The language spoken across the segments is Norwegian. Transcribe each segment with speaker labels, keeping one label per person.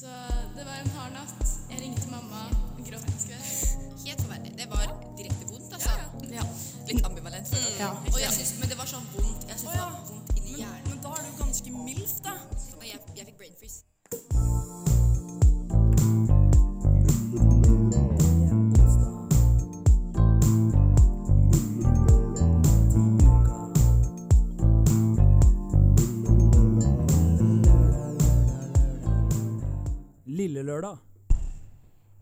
Speaker 1: Så det var en hard natt. Jeg ringte mamma og gråt en skvett.
Speaker 2: Helt forferdelig. Det var direkte vondt, altså.
Speaker 3: Ja.
Speaker 2: Litt ambivalent. føler jeg.
Speaker 3: Ja.
Speaker 2: Og jeg synes, men det var sånn vondt. Jeg synes
Speaker 4: Å, ja.
Speaker 2: det var vondt inni
Speaker 4: Men,
Speaker 2: hjernen.
Speaker 4: men da er du ganske milf, da.
Speaker 2: Og jeg, jeg fikk brain freeze.
Speaker 5: Lille lørdag.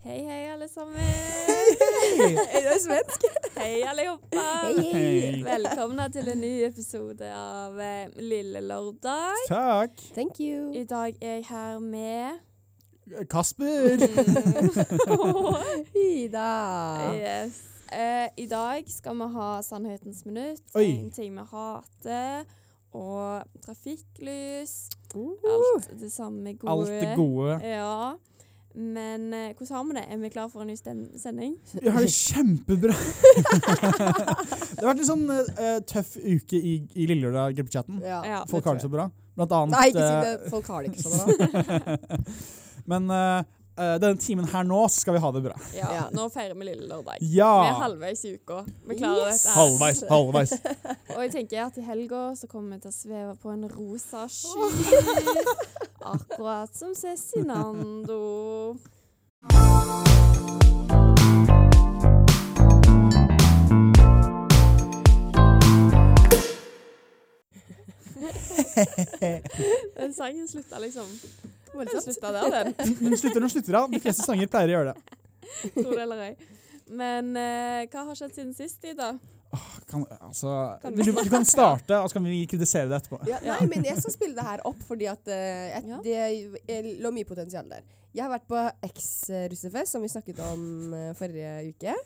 Speaker 3: Hei, hei, alle sammen.
Speaker 5: Hei.
Speaker 3: Er det svensk? Hei, alle sammen.
Speaker 5: Hei.
Speaker 3: Velkomne til en ny episode av eh, Lille lørdag.
Speaker 5: Takk.
Speaker 6: Thank you.
Speaker 3: I dag er jeg her med
Speaker 5: Kasper.
Speaker 6: Ida.
Speaker 3: yes. Eh, I dag skal vi ha Sannhetens minutt,
Speaker 5: Oi.
Speaker 3: en ting vi hater, og trafikklys. Alt det samme gode.
Speaker 5: Alt det gode.
Speaker 3: Ja. Men eh, hvordan har vi det? Er vi klare for en ny stem- sending?
Speaker 5: Vi har det kjempebra. det har vært en sånn eh, tøff uke i, i Lille lørdag gruppechatten.
Speaker 6: Ja.
Speaker 3: Ja.
Speaker 5: Folk har det så bra. Blant annet
Speaker 6: Nei, ikke si
Speaker 5: eh,
Speaker 6: det. Folk har det ikke sånn. da.
Speaker 5: Men eh, eh, denne timen her nå så skal vi ha det bra.
Speaker 3: Ja.
Speaker 6: Ja.
Speaker 3: Nå feirer vi lille lørdag. Vi er
Speaker 5: Ja!
Speaker 3: halvveis i uka. Vi
Speaker 6: Ah.
Speaker 3: klarer
Speaker 6: Yes.
Speaker 3: dette. her.
Speaker 5: Halvveis, halvveis.
Speaker 3: Og jeg tenker at i helga så kommer vi til å sveve på en rosa sky. Akkurat som Cezinando. Den sangen slutta liksom. Den slutta der, den.
Speaker 5: Men slutter når slutter, da. De fleste sanger pleier å gjøre det.
Speaker 3: Tror det eller ei. Men eh, hva har skjedd siden sist, Ida?
Speaker 5: Kan, altså, vil du, du kan starte, og så kan vi kritisere det etterpå.
Speaker 6: Ja, nei, men jeg skal spille det her opp, fordi at eh, jeg,
Speaker 3: Ja.
Speaker 6: det jeg lå mye potensial der. Jeg har vært på eks-russefest, som vi snakket om eh, forrige uke.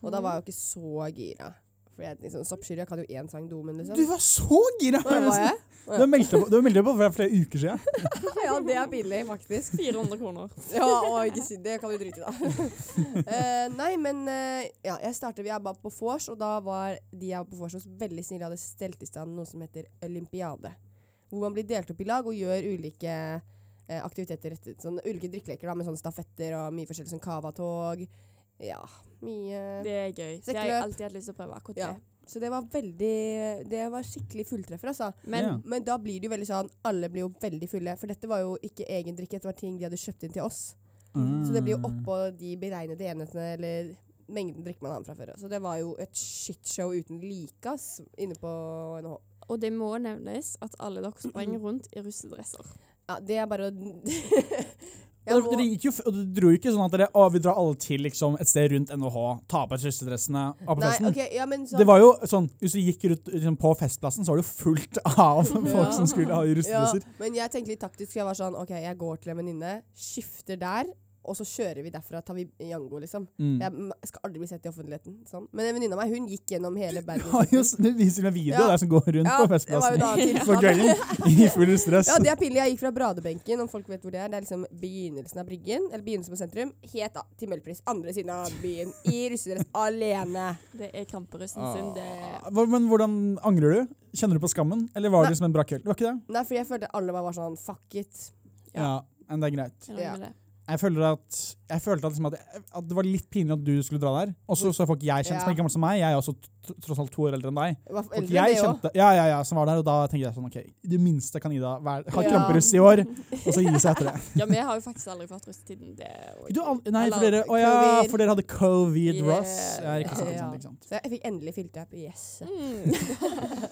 Speaker 6: Og da var jeg jo ikke så gira. For jeg er liksom, soppskyr, jeg kan jo én sang domen, liksom.
Speaker 5: Du var så gira!
Speaker 6: Hva var jeg?
Speaker 5: Du har meldt deg på, du har meldt deg på for flere uker siden.
Speaker 6: Ja, det er billig, faktisk.
Speaker 3: 400 kroner.
Speaker 6: Ja, og ikke si det. kan vi drite i, da. Eh, nei, men eh, ja, jeg startet, jeg var på vors, og da var de jeg var på vors hos, veldig snille og hadde stelt i stand noe som heter olympiade. Hvor man blir delt opp i lag og gjør ulike eh, aktiviteter rettet. Sånn, ulike drikkeleker da, med sånne stafetter og mye forskjellig, sånn cavatog. Ja, mye
Speaker 3: Det er gøy. Det har jeg
Speaker 6: Sekkeløp.
Speaker 3: alltid hatt lyst til å prøve. akkurat
Speaker 6: Ja.
Speaker 3: det.
Speaker 6: Så det var veldig Det var skikkelig fulltreffer, altså.
Speaker 3: Men
Speaker 5: Ja.
Speaker 6: Men da blir det jo veldig sånn Alle blir jo veldig fulle. For dette var jo ikke egen drikke, dette var ting de hadde kjøpt inn til oss. Så det
Speaker 5: Mm.
Speaker 6: blir jo oppå de beregnede enhetene eller mengden drikke man har med fra før. Så det var jo et shitshow uten like ass, inne på NHH.
Speaker 3: Og det må nevnes at alle dere
Speaker 6: Mhm.
Speaker 3: springer rundt i russedresser.
Speaker 6: Ja, det er bare å
Speaker 5: Dere- Dere gikk jo, f- og du dro jo ikke sånn at dere, å, vi drar alle til liksom, et sted rundt NHH, ta på oss russedressene av på
Speaker 6: Nei,
Speaker 5: festen.
Speaker 6: ok, ja, men sånn
Speaker 5: Det var jo sånn, Hvis du gikk rundt liksom, på Festplassen, så var det jo fullt av folk som skulle ha i
Speaker 6: ja,
Speaker 5: russedresser.
Speaker 6: Men jeg tenkte litt taktisk. Jeg var sånn OK, jeg går til en venninne, skifter der, og så kjører vi derfra. Tar vi Jango, liksom.
Speaker 5: Mm.
Speaker 6: Jeg m- skal aldri bli sett i offentligheten. Sånn. Men en venninne av meg, hun gikk gjennom hele
Speaker 5: Du har jo
Speaker 6: Bergen.
Speaker 5: s- det viser meg video
Speaker 6: Ja.
Speaker 5: der som går rundt
Speaker 6: Ja,
Speaker 5: på altså.
Speaker 6: det var jo
Speaker 5: Festplassen
Speaker 6: da til
Speaker 5: på kvelden i full stress.
Speaker 6: Ja, det er pinlig. Jeg gikk fra Bradebenken, om folk vet hvor det er. Det er liksom begynnelsen av Bryggen, eller begynnelsen på sentrum, helt da, til Møllpris. Andre siden av byen, i russedress, alene.
Speaker 3: Det er kramperussen
Speaker 5: Ah.
Speaker 3: sin. Det er
Speaker 5: Hva- Men hvordan angrer du? Kjenner du på skammen? Eller var det som en bra kveld? Det var ikke det?
Speaker 6: Nei, for jeg følte alle bare var sånn fuck it.
Speaker 3: Ja.
Speaker 5: Ja, men det er greit.
Speaker 3: jeg regner med det.
Speaker 5: Jeg føler at, jeg følte at, liksom at, at det var litt pinlig at du skulle dra der. Og så så folk jeg kjente som
Speaker 6: Mm.
Speaker 5: er
Speaker 6: Ja.
Speaker 5: gamle som meg. Jeg er også t- tross alt to år eldre enn deg.
Speaker 6: Det var
Speaker 5: Folk
Speaker 6: eldre enn
Speaker 5: jeg
Speaker 6: det også.
Speaker 5: kjente, ja, ja, ja, som var der, og da tenkte jeg sånn, ok, i det minste kan Ida være, ha
Speaker 6: Ja.
Speaker 5: kramperuss i år, og så gi seg etter det.
Speaker 3: Ja, vi har jo faktisk aldri fått russetiden. Det er jo
Speaker 5: Du, al- nei, for dere,
Speaker 6: Eller
Speaker 5: å ja,
Speaker 6: covid.
Speaker 5: for dere hadde covid
Speaker 3: Yeah.
Speaker 5: russ. Ja, ikke sant, ikke
Speaker 6: Ja.
Speaker 5: sant, ikke sant.
Speaker 6: Så jeg fikk endelig fylt opp. Yes.
Speaker 3: Mm.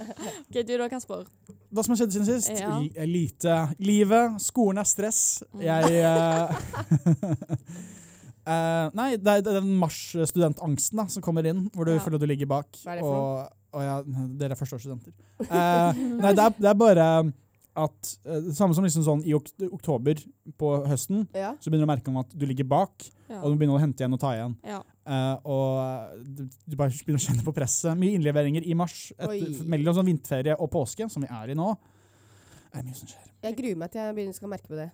Speaker 3: OK, du da, Kasper.
Speaker 5: Hva som har skjedd siden sist?
Speaker 3: Ja.
Speaker 5: Li- eh, Lite. Livet, skolen er stress.
Speaker 6: Mm.
Speaker 5: Jeg... eh, eh, nei, det er det er den mars-studentangsten da, som kommer inn, hvor du
Speaker 3: Ja.
Speaker 5: føler du ligger bak.
Speaker 6: Hva er det for
Speaker 5: og, og ja, dere er førsteårsstudenter. Eh, nei, det er, det er bare at, eh, det samme som liksom sånn i ok oktober på høsten,
Speaker 6: Ja.
Speaker 5: Så begynner du å merke om at du ligger bak,
Speaker 3: Ja.
Speaker 5: og du begynner å hente igjen og ta igjen.
Speaker 3: Ja.
Speaker 5: Eh, og du, du bare begynner å kjenne på presset. Mye innleveringer i mars. Et,
Speaker 6: Oi.
Speaker 5: mellom sånn vinterferie og påske, som vi er i nå, er det mye som skjer.
Speaker 6: Jeg gruer meg til jeg begynner skal merke på det.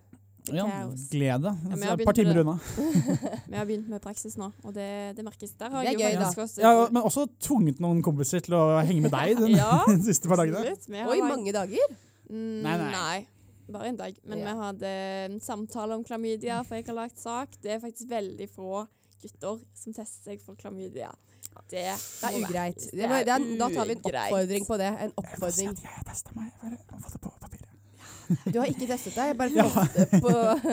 Speaker 5: Ja,
Speaker 3: Kaos.
Speaker 5: glede.
Speaker 3: men jeg
Speaker 5: Så
Speaker 3: har
Speaker 5: Et par
Speaker 3: begynt med
Speaker 5: timer
Speaker 3: det.
Speaker 5: unna.
Speaker 3: Vi har begynt med praksis nå, og det, det merkes. Der har
Speaker 6: Det er
Speaker 3: jeg jo
Speaker 6: gøy, da.
Speaker 3: faktisk også
Speaker 5: Ja, og- men også tvunget noen kompiser til å henge med deg den
Speaker 3: Ja,
Speaker 5: siste par dagene.
Speaker 3: absolutt. Vi har
Speaker 6: Oi,
Speaker 3: vært-
Speaker 6: mange dager!
Speaker 3: Mm,
Speaker 5: Nei, nei.
Speaker 3: nei. bare en dag. Men
Speaker 6: Ja.
Speaker 3: vi hadde en samtale om klamydia, for jeg har lagt sak. Det er faktisk veldig få gutter som tester seg for klamydia. Det
Speaker 6: Det er
Speaker 3: må være-
Speaker 6: ugreit. Det er, det er, da tar vi en
Speaker 3: ugreit.
Speaker 6: oppfordring på det. En
Speaker 5: Jeg vil bare si
Speaker 6: oppfordring.
Speaker 5: at jeg har testet meg. Jeg bare må få det på papiret.
Speaker 6: Du har ikke testet deg, jeg bare fant det på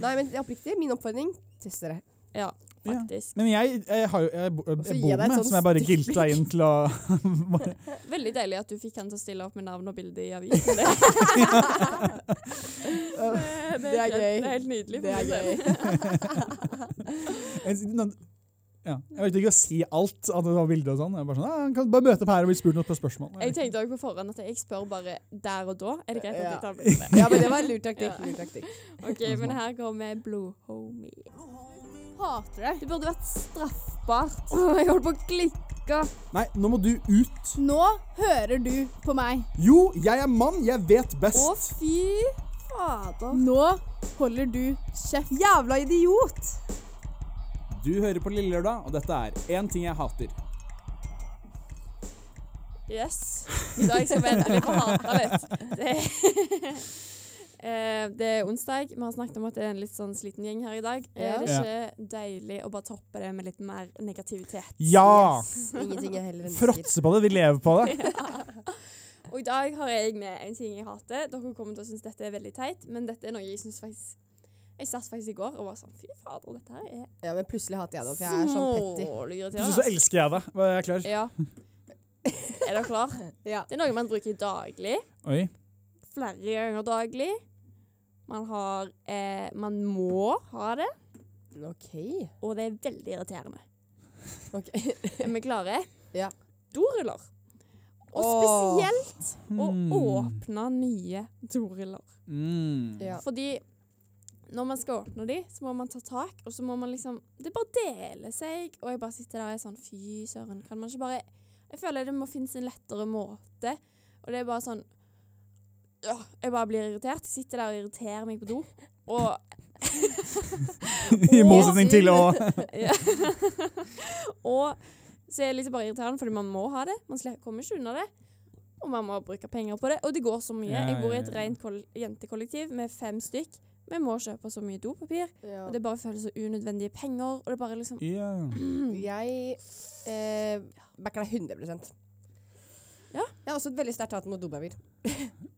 Speaker 6: Nei, men det er oppriktig. Min oppfordring test dere.
Speaker 3: Ja,
Speaker 5: Ja.
Speaker 3: faktisk.
Speaker 5: Men jeg, jeg, har, jo- jeg, bo- jeg,
Speaker 6: så gir
Speaker 5: bor
Speaker 6: jeg deg et
Speaker 5: med,
Speaker 6: sånt
Speaker 5: som jeg bare
Speaker 6: stygt
Speaker 5: gilta inn til å
Speaker 3: Veldig deilig at du fikk han til å stille opp med navn og bilde i avisen. Det, det,
Speaker 6: Det er
Speaker 3: helt-
Speaker 6: gøy.
Speaker 3: Det sånn. er helt nydelig.
Speaker 6: Det
Speaker 3: for
Speaker 6: er
Speaker 3: å si
Speaker 6: gøy.
Speaker 5: ja. Jeg vet ikke å si alt, at det var bilder og sånn. Jeg er bare sånn, ja, han kan bare møte opp her og bli spurt noe på spørsmål.
Speaker 3: Jeg tenkte også på forhånd at jeg spør bare der og da. Er det greit at jeg
Speaker 6: Ja.
Speaker 3: tar bilde?
Speaker 6: Ja, men det var en lur taktikk.
Speaker 3: Ja.
Speaker 6: Lur taktikk.
Speaker 3: Ok, men her går vi blodhomie.
Speaker 7: Hater det.
Speaker 3: Det burde vært straffbart. Jeg holdt på å klikke.
Speaker 5: Nei, nå må du ut.
Speaker 7: Nå hører du på meg.
Speaker 5: Jo, jeg er mann, jeg vet
Speaker 3: Å,
Speaker 5: best.
Speaker 3: fy fader.
Speaker 7: Nå holder du kjeft.
Speaker 6: Jævla idiot!
Speaker 5: Du hører på Lille Lørdag, og dette er én ting jeg hater.
Speaker 3: Yes. I dag skal vi endelig få hata litt. Det, Eh, det er onsdag. Vi har snakket om at det er en litt sånn sliten gjeng her i dag.
Speaker 6: Ja.
Speaker 3: Er det ikke deilig å bare toppe det med litt mer negativitet?
Speaker 5: Ja!
Speaker 6: Ingenting jeg heller ønsker.
Speaker 5: Fråtse på det. Vi lever på det.
Speaker 3: Og i dag har jeg med en ting jeg hater. Dere kommer til å synes dette er veldig teit, men dette er noe jeg synes faktisk Jeg satt faktisk i går og var sånn Fy fader, dette her er
Speaker 6: Ja, men plutselig hater jeg det, for jeg er sånn petty.
Speaker 5: Plutselig så
Speaker 3: smålirriterende.
Speaker 5: elsker jeg deg. Hva, Jeg er klar.
Speaker 3: Ja. Er dere klar?
Speaker 6: Ja.
Speaker 3: Det er noe man bruker daglig.
Speaker 5: Oi.
Speaker 3: Flere ganger daglig. Man har eh, Man må ha det,
Speaker 6: OK.
Speaker 3: og det er veldig irriterende.
Speaker 6: Ok.
Speaker 3: Er vi klare?
Speaker 6: Ja.
Speaker 3: Doruller. Og
Speaker 6: Åh.
Speaker 3: spesielt å
Speaker 5: Mm.
Speaker 3: åpne nye doruller.
Speaker 5: Mm.
Speaker 6: Ja.
Speaker 3: Fordi når man skal åpne de, så må man ta tak, og så må man liksom Det bare deler seg, og jeg bare sitter der og er sånn Fy søren, kan man ikke bare Jeg føler det må finnes en lettere måte, og det er bare sånn ja, Jeg bare blir irritert. Jeg sitter der og irriterer meg på do. Og,
Speaker 5: I motsetning til å
Speaker 3: og så er det liksom bare irriterende, fordi man må ha det. Man slipper- kommer ikke unna det. Og man må bruke penger på det. Og det går så mye.
Speaker 5: Ja,
Speaker 3: Jeg bor i
Speaker 5: ja,
Speaker 3: et
Speaker 5: ja.
Speaker 3: rent koll- jentekollektiv med fem stykk. Vi må kjøpe så mye dopapir.
Speaker 6: Ja.
Speaker 3: Og det bare føles så unødvendige penger. Og det bare liksom
Speaker 5: ja.
Speaker 6: Jeg eh, backer deg 100
Speaker 3: Ja.
Speaker 6: Jeg har også et veldig sterkt hat mot dopapir.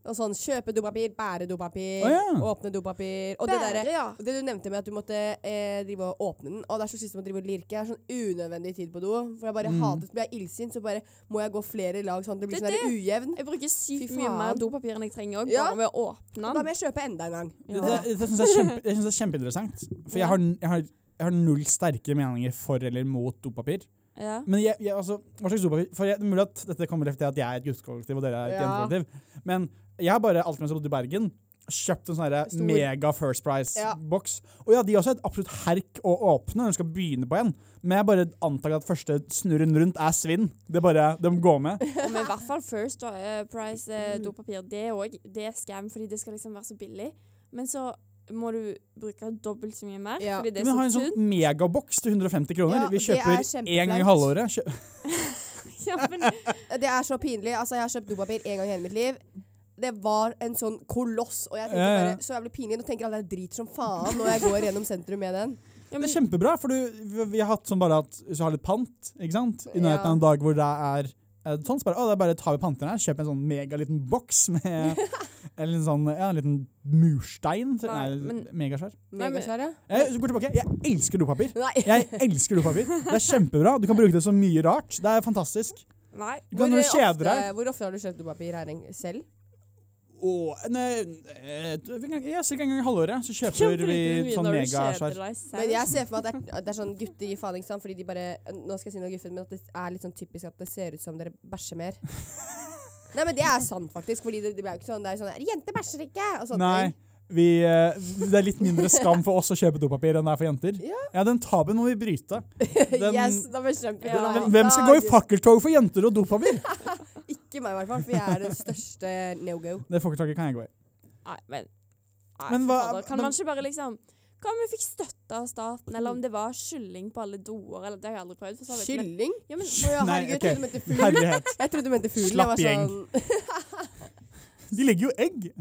Speaker 6: og sånn kjøpe dopapir, bære dopapir,
Speaker 5: Å, ja.
Speaker 6: åpne dopapir. Og det derre
Speaker 3: ja.
Speaker 6: og det du nevnte med at du måtte eh, drive og åpne den, og det er så slitsomt å drive og lirke. Jeg har sånn unødvendig tid på do. For jeg bare
Speaker 5: Mm.
Speaker 6: hatet Blir jeg illsint, så bare må jeg gå flere lag, sånn at det blir
Speaker 3: Det er
Speaker 6: sånn der ujevn.
Speaker 3: Jeg bruker sykt
Speaker 6: Fy
Speaker 3: mye
Speaker 6: faen.
Speaker 3: mer dopapir enn jeg trenger òg,
Speaker 6: Ja.
Speaker 3: bare ved å åpne
Speaker 6: Og da
Speaker 3: den.
Speaker 6: må jeg kjøpe enda en gang.
Speaker 5: Dette, dette synes jeg, er kjempe, jeg synes det er kjempeinteressant. For jeg har, jeg, har, jeg har null sterke meninger for eller mot dopapir.
Speaker 3: Ja.
Speaker 5: Men jeg, jeg, altså, hva slags dopapir? For jeg, det er mulig at dette kommer til at jeg er et guttekollektiv, og dere er et
Speaker 6: Ja.
Speaker 5: jentekollektiv. Men jeg har bare, alltid mens jeg bodde i Bergen, kjøpt en sånn her
Speaker 6: Stor.
Speaker 5: mega First
Speaker 6: Ja.
Speaker 5: Price-boks. Og ja, de også er et absolutt herk å åpne når du skal begynne på en. Men jeg bare antar at første snurren rundt er svinn. Det bare, de går med.
Speaker 3: Og med i hvert fall First eh, Price eh,
Speaker 6: Mm.
Speaker 3: dopapir. Det er òg det er scam, fordi det skal liksom være så billig. Men så må du bruke dobbelt så mye mer,
Speaker 6: Ja.
Speaker 3: fordi det
Speaker 5: Men
Speaker 3: er
Speaker 5: har en
Speaker 3: så
Speaker 5: sånn
Speaker 3: tynt.
Speaker 5: megaboks til 150 kroner.
Speaker 6: Ja,
Speaker 5: Vi
Speaker 6: det er
Speaker 5: kjøper én gang i
Speaker 6: kjempeflaut.
Speaker 5: halvåret. Kjø
Speaker 3: Ja, men,
Speaker 6: Det er så pinlig. Altså, jeg har kjøpt dopapir én gang i hele mitt liv. Det var en sånn koloss, og jeg tenkte
Speaker 5: Ja, ja.
Speaker 6: bare så jævlig pinlig. Nå tenker alle det er drit som faen når jeg går gjennom sentrum med den.
Speaker 3: ja,
Speaker 5: Det er
Speaker 3: men
Speaker 5: kjempebra, for du, vi- vi har hatt sånn bare at hvis du har litt pant, ikke sant? I nærheten av en dag hvor det er eh, sånn, så bare, å, det er bare tar vi panter her, kjøper en sånn megaliten boks med Eller en sånn, ja, en liten murstein. Så,
Speaker 3: Nei,
Speaker 5: nei,
Speaker 3: men-
Speaker 5: megasvær.
Speaker 3: Nei, men-
Speaker 6: Megasvær, ja.
Speaker 5: Jeg, så går tilbake. Jeg elsker dopapir.
Speaker 6: Nei.
Speaker 5: Jeg elsker dopapir. Det er kjempebra. Du kan bruke det så mye rart. Det er fantastisk.
Speaker 3: Nei.
Speaker 5: Du kan når du kjeder
Speaker 6: ofte,
Speaker 5: deg.
Speaker 6: hvor ofte har du kjøpt dopapir her en- selv?
Speaker 5: Å, nei, eh, vi kan- Ja, cirka en gang i halvåret så kjøper
Speaker 3: Kjemper
Speaker 5: vi
Speaker 3: du
Speaker 5: sånn
Speaker 3: når du kjeder
Speaker 5: megasvær.
Speaker 3: deg
Speaker 6: Men
Speaker 3: selv?
Speaker 6: jeg ser for meg at det er, at det er sånn gutter i faen, ikke sant? Fordi de bare Nå skal jeg si noe guffent, men at det er litt sånn typisk at det ser ut som dere bæsjer mer. Nei, men det er sant, faktisk. Fordi det, det er jo ikke sånn Det er jo sånn 'Jenter bæsjer ikke!' og sånn. sånne
Speaker 5: Nei.
Speaker 6: ting.
Speaker 5: Vi, eh, det er litt mindre skam for oss å kjøpe dopapir enn det er for jenter. Ja, Den tabuen må vi bryte. Den,
Speaker 6: yes, da blir jeg kjempeglad.
Speaker 5: hvem, hvem skal gå i fakkeltog for jenter og dopapir?
Speaker 6: Ikke meg, i hvert fall, for jeg er den største no go.
Speaker 5: Det fakkeltoget kan jeg gå i.
Speaker 3: Nei, men, nei,
Speaker 5: Men hva-
Speaker 3: fader, Kan
Speaker 5: men-
Speaker 3: man ikke bare liksom Hva om vi fikk støtte av staten, eller om det var kylling på alle doer? Eller, det har jeg aldri prøvd. For så vidt, men-
Speaker 6: Kylling?
Speaker 3: Ja, men
Speaker 6: Å ja,
Speaker 5: Nei,
Speaker 6: herregud, jeg
Speaker 5: ok.
Speaker 6: trodde du mente fugl. sånn-
Speaker 5: Herlighet.
Speaker 6: Jeg trodde du mente fugl. Jeg
Speaker 5: Slapp
Speaker 6: var sånn
Speaker 5: De legger jo egg!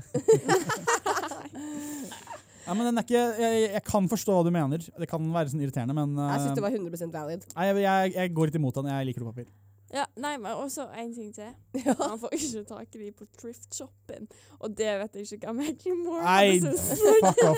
Speaker 5: ja, men den er ikke, jeg, jeg kan forstå hva du mener. Det kan være sånn irriterende, men eh,
Speaker 6: Jeg syns det var 100 valid.
Speaker 5: nei, jeg, jeg, jeg går litt imot den. Jeg liker dopapir.
Speaker 3: Ja, nei, men også en ting til. Man får ikke tak i de på thrift-shoppen. Og det vet jeg ikke hva Macklemore
Speaker 5: Nei,
Speaker 3: synes.
Speaker 5: fuck off.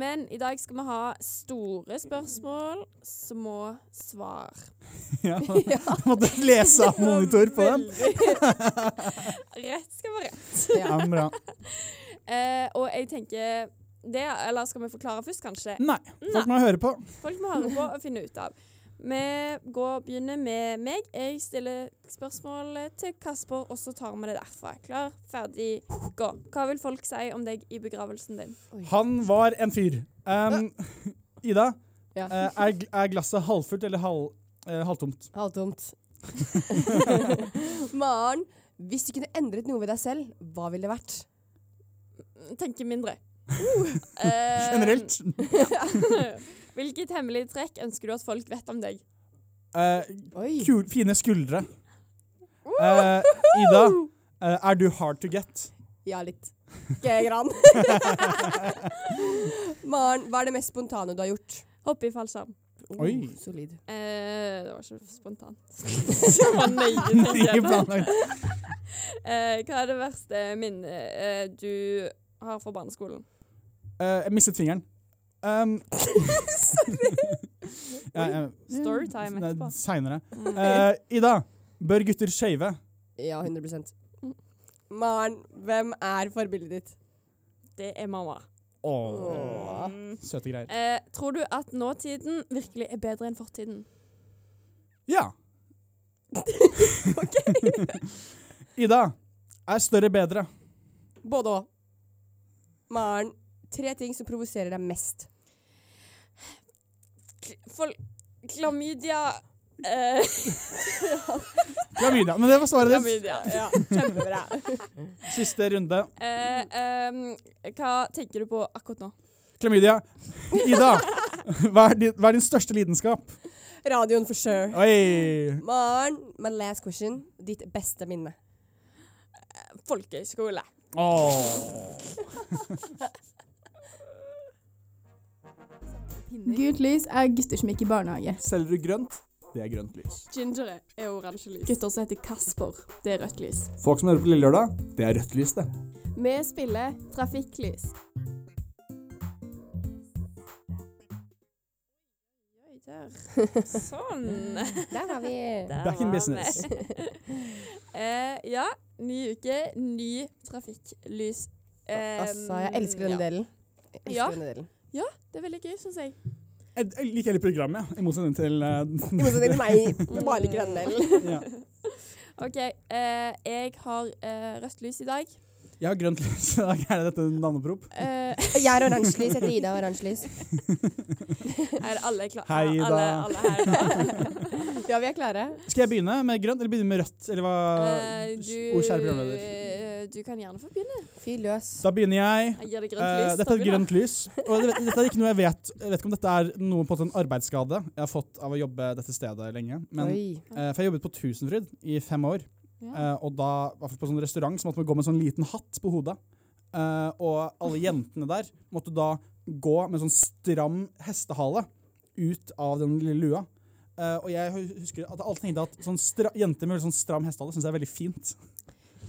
Speaker 3: Men i dag skal vi ha store spørsmål, små svar.
Speaker 5: ja, måtte lese av monitor på den.
Speaker 3: Rett skal være rett.
Speaker 5: Ja, men bra.
Speaker 3: Eh, og jeg tenker det, eller skal vi forklare først, kanskje?
Speaker 5: Nei, folk må høre på.
Speaker 3: Folk må høre på og finne ut av. Vi går, begynner med meg. Jeg stiller spørsmålet til Kasper, og så tar vi det derfra. Klar, ferdig, gå. Hva vil folk si om deg i begravelsen din?
Speaker 5: Han var en fyr. Um, Ida,
Speaker 6: Ja.
Speaker 5: eh, er, gl- er glasset halvfullt eller halv, eh, halvtomt?
Speaker 6: Halvtomt. Maren, hvis du kunne endret noe ved deg selv, hva ville det vært?
Speaker 3: Tenke mindre. Eh,
Speaker 5: Generelt.
Speaker 3: Hvilket hemmelig trekk ønsker du at folk vet om deg?
Speaker 5: Eh,
Speaker 6: Oi.
Speaker 5: kul, fine skuldre. Eh, Ida, eh, er du hard to get?
Speaker 6: Ja, litt. Ikke grann. Maren, hva er det mest spontane du har gjort?
Speaker 3: Hoppe i fallskjerm.
Speaker 6: Oh,
Speaker 5: Oi.
Speaker 6: Solid.
Speaker 3: Eh, det var ikke spontant. det var nøye, tenkte
Speaker 5: Ikke
Speaker 3: jeg på.
Speaker 5: planlagt.
Speaker 3: Eh, hva er det verste minnet eh, du har fra barneskolen?
Speaker 5: Eh, jeg mistet fingeren. Um, Sorry.
Speaker 7: sånn
Speaker 3: Storytime etterpå.
Speaker 5: Seinere.
Speaker 3: Mm.
Speaker 5: Eh, Ida, bør gutter shave?
Speaker 6: Ja, 100 Maren, hvem er forbildet ditt?
Speaker 3: Det er mamma.
Speaker 5: Åh, Søte greier.
Speaker 3: Eh, tror du at nåtiden virkelig er bedre enn fortiden?
Speaker 5: Ja. Ida, er større bedre?
Speaker 6: Både og. Maren, tre ting som provoserer deg mest.
Speaker 3: K- Fol klamydia eh,
Speaker 5: Klamydia. Men det var svaret ditt.
Speaker 3: Klamydia, ja. Kjempebra.
Speaker 5: Siste runde.
Speaker 3: Eh, ehm, hva tenker du på akkurat nå?
Speaker 5: Klamydia. Ida, hva er din, hva er din største lidenskap?
Speaker 6: Radioen for sure.
Speaker 5: Oi!
Speaker 6: Maren, my last question. Ditt beste minne.
Speaker 3: Folkehøyskole.
Speaker 5: Åh.
Speaker 7: Gult lys er gutter som gikk i barnehage.
Speaker 5: Selger du grønt? Det er grønt lys.
Speaker 3: Gingeret er oransje lys.
Speaker 7: Gutter som heter Kasper. Det er rødt lys.
Speaker 5: Folk som hører på Lille Lørdag, det er rødt lys, det.
Speaker 7: Vi spiller trafikklys.
Speaker 3: Oi, der. Sånn.
Speaker 6: Mm. Der har vi
Speaker 5: Back in
Speaker 3: var
Speaker 5: business.
Speaker 3: vi. eh, ja, ny uke, ny trafikklys. Eh,
Speaker 6: Altså, jeg elsker denne
Speaker 3: ja.
Speaker 6: delen. Jeg elsker
Speaker 3: Ja.
Speaker 6: denne delen.
Speaker 3: Det er veldig gøy, syns jeg.
Speaker 5: Jeg jeg liker hele programmet, i motsetning til
Speaker 6: I
Speaker 5: eh,
Speaker 6: motsetning til meg. Jeg bare liker denne delen.
Speaker 5: ja.
Speaker 3: OK, eh, jeg har eh, rødt lys i dag.
Speaker 5: Jeg har grønt lys i dag. Er det dette navneprop?
Speaker 3: Eh,
Speaker 6: Jeg har oransje lys. Jeg heter Ida og oransje lys.
Speaker 3: er alle klare?
Speaker 5: Hei, Ida.
Speaker 3: Alle, alle her.
Speaker 6: Ja, vi er klare.
Speaker 5: Skal jeg begynne med grønt, eller begynne med rødt? Eller hva?
Speaker 3: Eh,
Speaker 5: Å, kjære programleder.
Speaker 3: eh, du kan gjerne få begynne.
Speaker 6: Fyr løs.
Speaker 5: Da begynner jeg.
Speaker 3: Jeg gir deg grønt
Speaker 5: Eh, dette
Speaker 3: lys.
Speaker 5: er et
Speaker 3: Torbjørn, da.
Speaker 5: grønt lys. Og det- dette er ikke noe jeg vet Jeg vet ikke om dette er noe på en måte en arbeidsskade jeg har fått av å jobbe dette stedet lenge. Men,
Speaker 6: Oi.
Speaker 5: eh, for jeg jobbet på Tusenfryd i fem år.
Speaker 3: Ja.
Speaker 5: Eh, og da, i hvert fall på sånn restaurant, så måtte man gå med en sånn liten hatt på hodet. Eh, og alle jentene der måtte da gå med sånn stram hestehale ut av den lille lua. Eh, og jeg husker at jeg alltid tenkte at sånn stra jenter med sånn stram hestehale syns jeg er veldig fint.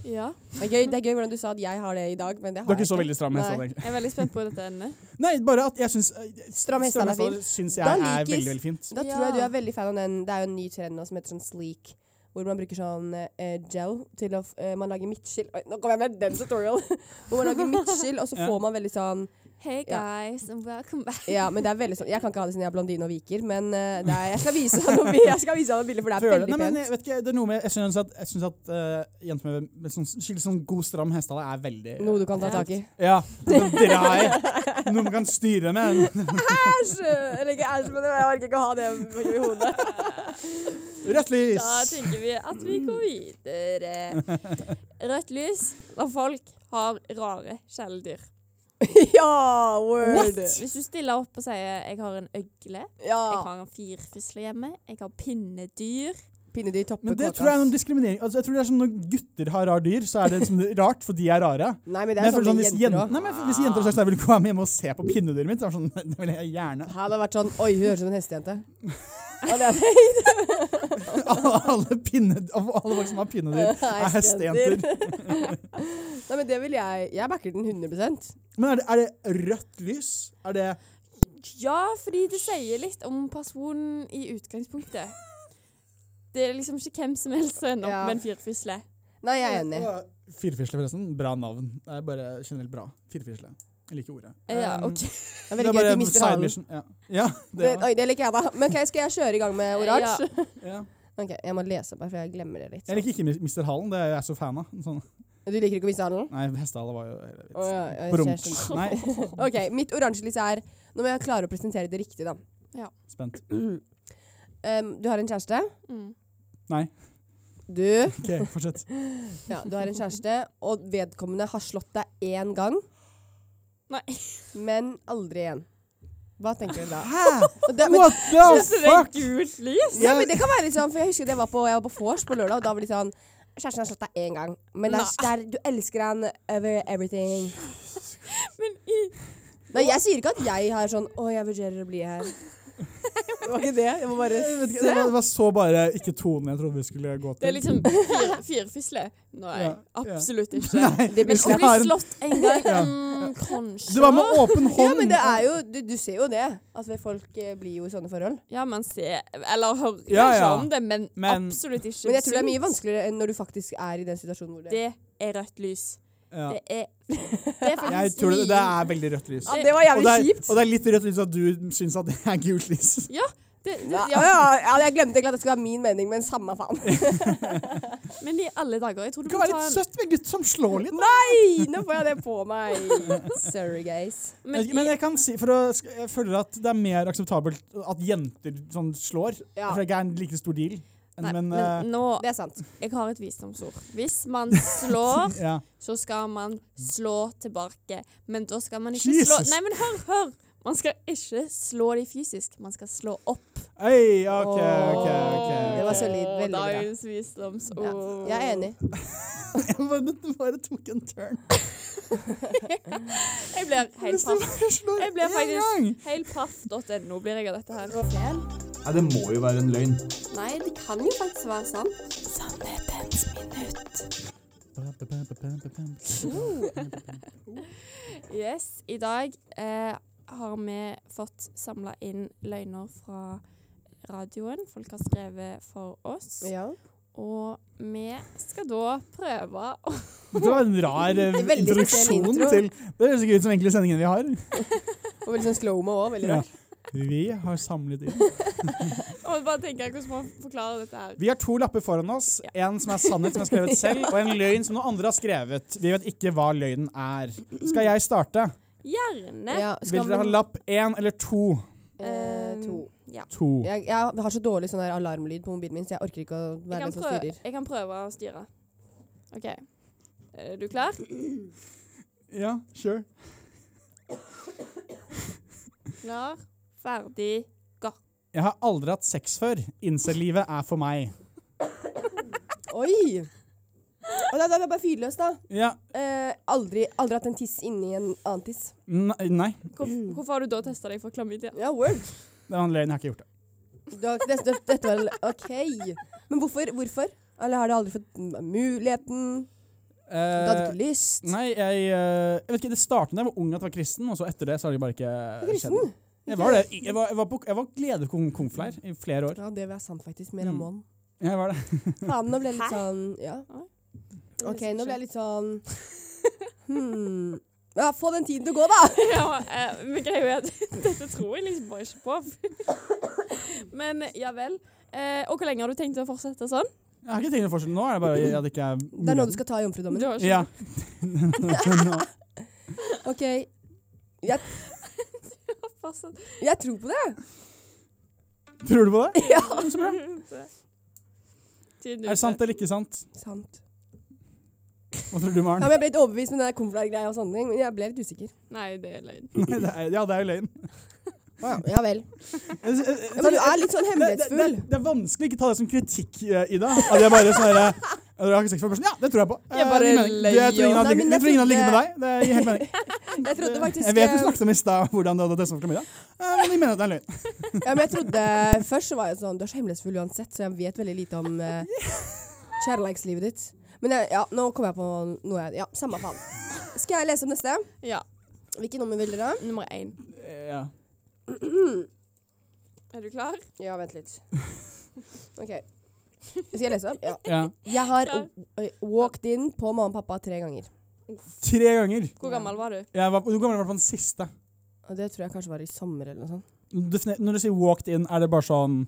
Speaker 3: Ja.
Speaker 6: Det er, gøy, det er gøy hvordan du sa at jeg har det i dag, men det
Speaker 5: Du
Speaker 6: har
Speaker 5: er ikke
Speaker 6: jeg
Speaker 5: så veldig stram
Speaker 6: Nei.
Speaker 5: hestehale, egentlig.
Speaker 3: Jeg er veldig spent på dette emnet.
Speaker 5: Nei, bare at jeg syns eh,
Speaker 6: Stram hestehale er
Speaker 5: stram
Speaker 6: fint.
Speaker 5: syns jeg
Speaker 6: Da
Speaker 5: er
Speaker 6: likes.
Speaker 5: veldig, veldig fint.
Speaker 6: Da tror jeg du er veldig fan av den. Det er jo en ny trend nå som heter sånn sleek. Hvor man bruker sånn eh, gel til å f- eh, Man lager midtskill Oi, Nå kom jeg med den tutorial! hvor man lager midtskill, og så
Speaker 5: Ja.
Speaker 6: får man veldig sånn
Speaker 3: Hey
Speaker 6: Ja.
Speaker 3: guys, and welcome back.
Speaker 6: Ja, men det er veldig sånn Jeg kan ikke ha det siden jeg er blondine og viker, men eh, det er, jeg skal vise deg noen, bi- jeg skal vise deg noen bilder, for det
Speaker 5: Føler-
Speaker 6: er veldig
Speaker 5: Nei, men
Speaker 6: pent.
Speaker 5: jeg vet ikke, det er noe med Jeg syns at, jeg synes at eh, jenter med, med sånn, skikkelig sånn god, stram hestehale er veldig
Speaker 6: Noe du kan ta tak i.
Speaker 5: Ja. Det drar jeg. Noe man kan styre med.
Speaker 6: eh, Æsj! Eller ikke æsj, men jeg orker ikke å ha det i hodet.
Speaker 5: Rødt lys!
Speaker 3: Da tenker vi at vi går videre. Rødt lys når folk har rare kjæledyr.
Speaker 6: ja, word!
Speaker 3: Hvis du stiller opp og sier 'jeg har en øgle', 'jeg
Speaker 6: Ja.
Speaker 3: har en firfisle hjemme', 'jeg har pinnedyr
Speaker 6: Pinnedyr topper
Speaker 5: Men det
Speaker 6: kåta,
Speaker 5: tror jeg er
Speaker 6: ass.
Speaker 5: noen diskriminering. Altså, jeg tror det er sånn Når gutter har rar dyr, så er det liksom rart, for de er rare.
Speaker 6: Nei, men det
Speaker 5: Men
Speaker 6: er
Speaker 5: jeg føler sånn,
Speaker 6: sånne
Speaker 5: hvis,
Speaker 6: jenter
Speaker 5: jenter,
Speaker 6: òg.
Speaker 5: nei, men hvis jenter hadde sagt at jeg vil komme hjem og se på pinnedyret mitt, så er det sånn, det vil jeg gjerne.
Speaker 6: Her hadde det vært sånn Oi, hun høres ut som en hestejente. Ja, det er
Speaker 5: Alle, alle, pinne, alle folk som har pinnedyr, er hestejenter.
Speaker 6: Nei, men det vil jeg Jeg backer den 100
Speaker 5: Men er det, er det rødt lys? Er det
Speaker 3: Ja, fordi det sier litt om personen i utgangspunktet. Det er liksom ikke hvem som helst som ender opp
Speaker 6: Ja.
Speaker 3: med en firfisle.
Speaker 6: Nei, jeg er enig.
Speaker 5: Å, Firfisle, forresten. Bra navn. Det er bare generelt bra. Firfisle. Jeg liker ordet.
Speaker 3: Ja,
Speaker 5: Um,
Speaker 3: ok.
Speaker 6: Det er veldig gøy at de mister halen.
Speaker 5: mission. Ja. ja, det
Speaker 6: Det, oi, det liker jeg, da. Men ok, Skal jeg kjøre i gang med oransje?
Speaker 5: også. ja.
Speaker 6: Ok, Jeg må lese bare, for jeg glemmer det litt.
Speaker 5: Jeg liker ikke Mr. Halen, det er jeg så fan av. Sånn.
Speaker 6: Du liker ikke å miste halen?
Speaker 5: Nei, hestehale var jo hele vitsen.
Speaker 6: Å, ja, ja,
Speaker 5: Brunk.
Speaker 6: jeg ser
Speaker 5: Nei,
Speaker 6: Ok, Mitt oransje lys er Nå må jeg klare å presentere det riktig, da.
Speaker 5: spent.
Speaker 6: Um, du har en kjæreste.
Speaker 3: Mm.
Speaker 6: Du
Speaker 5: Ok, fortsett.
Speaker 6: Ja, du har en kjæreste, og vedkommende har slått deg én gang.
Speaker 3: Nei.
Speaker 6: Men aldri igjen. Hva tenker du da?
Speaker 5: Hæ?
Speaker 6: Og Det, men,
Speaker 5: What the
Speaker 3: Det er
Speaker 5: Oh, fuck?
Speaker 3: gult lys!
Speaker 6: ja, men det kan være litt sånn, for jeg husker det var på, jeg var på vors på lørdag, og da var det litt sånn Kjæresten har slått deg én gang, men det er, det er, du elsker han over everything.
Speaker 3: Men i
Speaker 6: Nei, jeg sier ikke at jeg har sånn Å, jeg vurderer å bli her. Det var ikke det. Jeg må bare
Speaker 5: Jeg vet ikke, Det var- det var så bare ikke tonen jeg trodde vi skulle gå til.
Speaker 3: Det er liksom fir, firfisle. Nei,
Speaker 5: Ja, ja.
Speaker 3: absolutt ikke.
Speaker 5: Nei,
Speaker 6: Det blir
Speaker 3: Men å
Speaker 5: Jeg
Speaker 6: slett.
Speaker 3: bli
Speaker 5: har en-
Speaker 3: slått en gang
Speaker 5: Ja.
Speaker 3: mm, Kanskje.
Speaker 5: det var med åpen hånd.
Speaker 6: Ja, men det er jo Du, du ser jo det. At folk eh, blir jo i sånne forhold.
Speaker 3: Ja, man ser Eller hører
Speaker 5: Ja, ja.
Speaker 3: ikke om det, men,
Speaker 5: Men-
Speaker 3: absolutt ikke.
Speaker 6: Men jeg tror det er
Speaker 3: sunt.
Speaker 6: mye vanskeligere enn når du faktisk er i den situasjonen hvor det
Speaker 3: Det er rødt lys.
Speaker 5: Ja.
Speaker 3: Det er Det er
Speaker 5: Jeg
Speaker 3: faktisk
Speaker 5: tror det, det
Speaker 3: mye-
Speaker 5: er veldig rødt lys.
Speaker 6: Ja, det var
Speaker 5: Og
Speaker 6: jævlig
Speaker 5: det er,
Speaker 6: kjipt.
Speaker 5: og det er litt rødt lys at du syns at det er gult lys.
Speaker 3: det, det,
Speaker 6: Ja,
Speaker 3: ja.
Speaker 6: ja, ja, jeg glemte egentlig at det skulle være min mening, men samme faen.
Speaker 3: Men i alle dager Jeg tror du
Speaker 5: Det kan
Speaker 3: må
Speaker 5: være
Speaker 3: ta
Speaker 5: litt
Speaker 3: en
Speaker 5: søtt med en gutt som slår litt.
Speaker 6: Nei, nå får jeg det på meg. Sorry, guys.
Speaker 3: Men, i-
Speaker 5: Men jeg kan si, for å, sk- jeg føler at det er mer akseptabelt at jenter sånn slår.
Speaker 6: Ja.
Speaker 5: For det er ikke en like stor deal.
Speaker 3: nei,
Speaker 5: Men, eh,
Speaker 3: men nå
Speaker 6: Det er sant.
Speaker 3: Jeg har et visdomsord. Hvis man slår,
Speaker 5: ja.
Speaker 3: så skal man slå tilbake. Men da skal man ikke slå
Speaker 5: Jesus.
Speaker 3: Nei, men hør, hør! Man skal ikke slå de fysisk. Man skal slå opp.
Speaker 5: Oi, ok, ok, ok.
Speaker 6: Det var solid. Veldig bra.
Speaker 3: Dagens visdomsord.
Speaker 6: Ja, jeg er enig.
Speaker 5: Jeg bare, det bare tok en turn.
Speaker 3: Jeg blir helt
Speaker 5: Hvis du
Speaker 3: paff.
Speaker 5: bare slår
Speaker 3: Jeg
Speaker 5: en
Speaker 3: blir faktisk-
Speaker 5: gang.
Speaker 3: Heilpaff.no blir jeg av dette her.
Speaker 8: Nei, det må jo være en løgn.
Speaker 3: Nei, det kan jo faktisk være sant. Yes, i dag eh, har vi fått samla inn løgner fra radioen. Folk har skrevet for oss.
Speaker 6: Ja.
Speaker 3: Og vi skal da prøve å
Speaker 5: Det var en rar eh,
Speaker 6: En veldig spesiell
Speaker 5: introduksjon
Speaker 6: intro.
Speaker 5: til Det høres ikke ut som egentlig sendingen vi har.
Speaker 6: Og veldig sånn slow-mo òg. Veldig
Speaker 5: Ja.
Speaker 6: rart.
Speaker 5: Vi har samlet inn.
Speaker 3: og bare tenke hvordan man forklarer dette her.
Speaker 5: Vi har to lapper foran oss. En som er sannhet, som er skrevet selv, og en løgn som noen andre har skrevet. Vi vet ikke hva løgnen er. Skal jeg starte?
Speaker 3: Gjerne.
Speaker 6: Ja,
Speaker 5: Vil
Speaker 6: skal
Speaker 5: dere ha
Speaker 6: vi-
Speaker 5: lapp én eller to?
Speaker 6: Eh, to.
Speaker 5: To.
Speaker 6: Jeg, jeg har så dårlig sånn der alarmlyd på mobilen min, så jeg orker ikke å
Speaker 3: Jeg
Speaker 6: være den
Speaker 3: kan,
Speaker 6: som
Speaker 3: prøve,
Speaker 6: styrer.
Speaker 3: jeg kan prøve å styre. OK. Er du klar?
Speaker 5: Ja, sure.
Speaker 3: Klar, ferdig, gå.
Speaker 5: Jeg har aldri hatt sex før. Incel-livet er for meg.
Speaker 6: Oi! Og da, da, det er bare fyrløs, da.
Speaker 5: Ja.
Speaker 6: Eh, aldri, aldri hatt en tiss inni en annen tiss.
Speaker 5: Nei. nei.
Speaker 3: Hvor, hvorfor har du da testa deg for klamydia?
Speaker 6: Ja, word.
Speaker 5: Det var en løgn. Jeg har ikke gjort det.
Speaker 6: Du har ikke- det- det- Dette var OK. Men hvorfor? hvorfor? Eller har du aldri fått muligheten? Du hadde
Speaker 5: Eh,
Speaker 6: ikke lyst?
Speaker 5: Nei, jeg, eh, jeg vet ikke, det startet da jeg var ung at jeg var kristen, og så etter det så har det bare ikke
Speaker 6: kristen?
Speaker 5: skjedd. Jeg var det. Jeg var, jeg var, på, jeg var leder på Kong- Kongfleir i flere år.
Speaker 6: Ja, det var sant faktisk, med
Speaker 5: Mm.
Speaker 6: Ramón.
Speaker 5: Jeg var det.
Speaker 6: Faen, nå ble jeg litt sånn Ja. OK, nå ble jeg litt sånn hmm. Ja, få den tiden til å gå, da!
Speaker 3: Ja, eh, men greia er at dette tror jeg liksom bare ikke på. Men ja vel. Eh, og hvor lenge har du tenkt å fortsette sånn?
Speaker 5: Jeg har ikke tenkt å fortsette nå, er det bare at det ikke er
Speaker 6: Det er nå du skal ta jomfrudommen.
Speaker 3: Du har ikke
Speaker 5: Ja. Nå.
Speaker 6: OK. Jeg,
Speaker 3: fortsatt.
Speaker 6: jeg tror på det.
Speaker 5: Tror du på det?
Speaker 6: Ja.
Speaker 3: Tiden
Speaker 5: Er det sant eller ikke sant?
Speaker 6: Sant.
Speaker 5: Hva tror du,
Speaker 6: Ja,
Speaker 5: Maren?
Speaker 6: men jeg ble litt overbevist med den der cornflare-greia og sånne ting, men jeg ble litt usikker.
Speaker 3: Nei, det er løgn.
Speaker 5: Nei, det er, ja, det er jo løgn.
Speaker 6: Ja, ja vel.
Speaker 5: Jeg- jeg- jeg-
Speaker 6: Ja, men du er litt sånn
Speaker 5: det, det, det,
Speaker 6: hemmelighetsfull.
Speaker 5: det er vanskelig å ikke ta det som kritikk, eh, Ida. At jeg bare sånn herre jeg har ikke sex for personen. Ja, det tror jeg på. Eh,
Speaker 3: Jeg bare
Speaker 5: det gir mening.
Speaker 3: løy
Speaker 5: Jeg tror ingen
Speaker 6: og-
Speaker 5: hadde
Speaker 6: Nei, men
Speaker 5: ligget- jeg
Speaker 6: jeg
Speaker 5: tror ingen hadde ligget med deg.
Speaker 6: trodde-
Speaker 5: Det gir helt mening.
Speaker 6: Jeg trodde faktisk
Speaker 5: Jeg vet du snakket om i stad hvordan du hadde testa for klamydia, Eh, men jeg mener at det er løgn.
Speaker 6: Ja, men jeg trodde Først så var jeg sånn Du er så hemmelighetsfull uansett, så jeg vet veldig lite om eh, kjærlighetslivet ditt. Men jeg, ja, nå kom jeg på noe jeg Ja, samme faen. Skal jeg lese om neste?
Speaker 3: Ja.
Speaker 6: Hvilket nummer vil dere?
Speaker 3: Nummer én.
Speaker 5: Ja.
Speaker 3: Er du klar?
Speaker 6: Ja, vent litt. OK. Skal jeg lese? Ja.
Speaker 5: ja.
Speaker 6: Jeg har oi, walked in på mamma og pappa tre ganger.
Speaker 5: Tre ganger.
Speaker 3: Hvor gammel var du?
Speaker 5: Jeg var, du kommer i hvert fall den siste.
Speaker 6: Og det tror jeg kanskje var i sommer eller noe sånt.
Speaker 5: Define- Når du sier walked in, er det bare sånn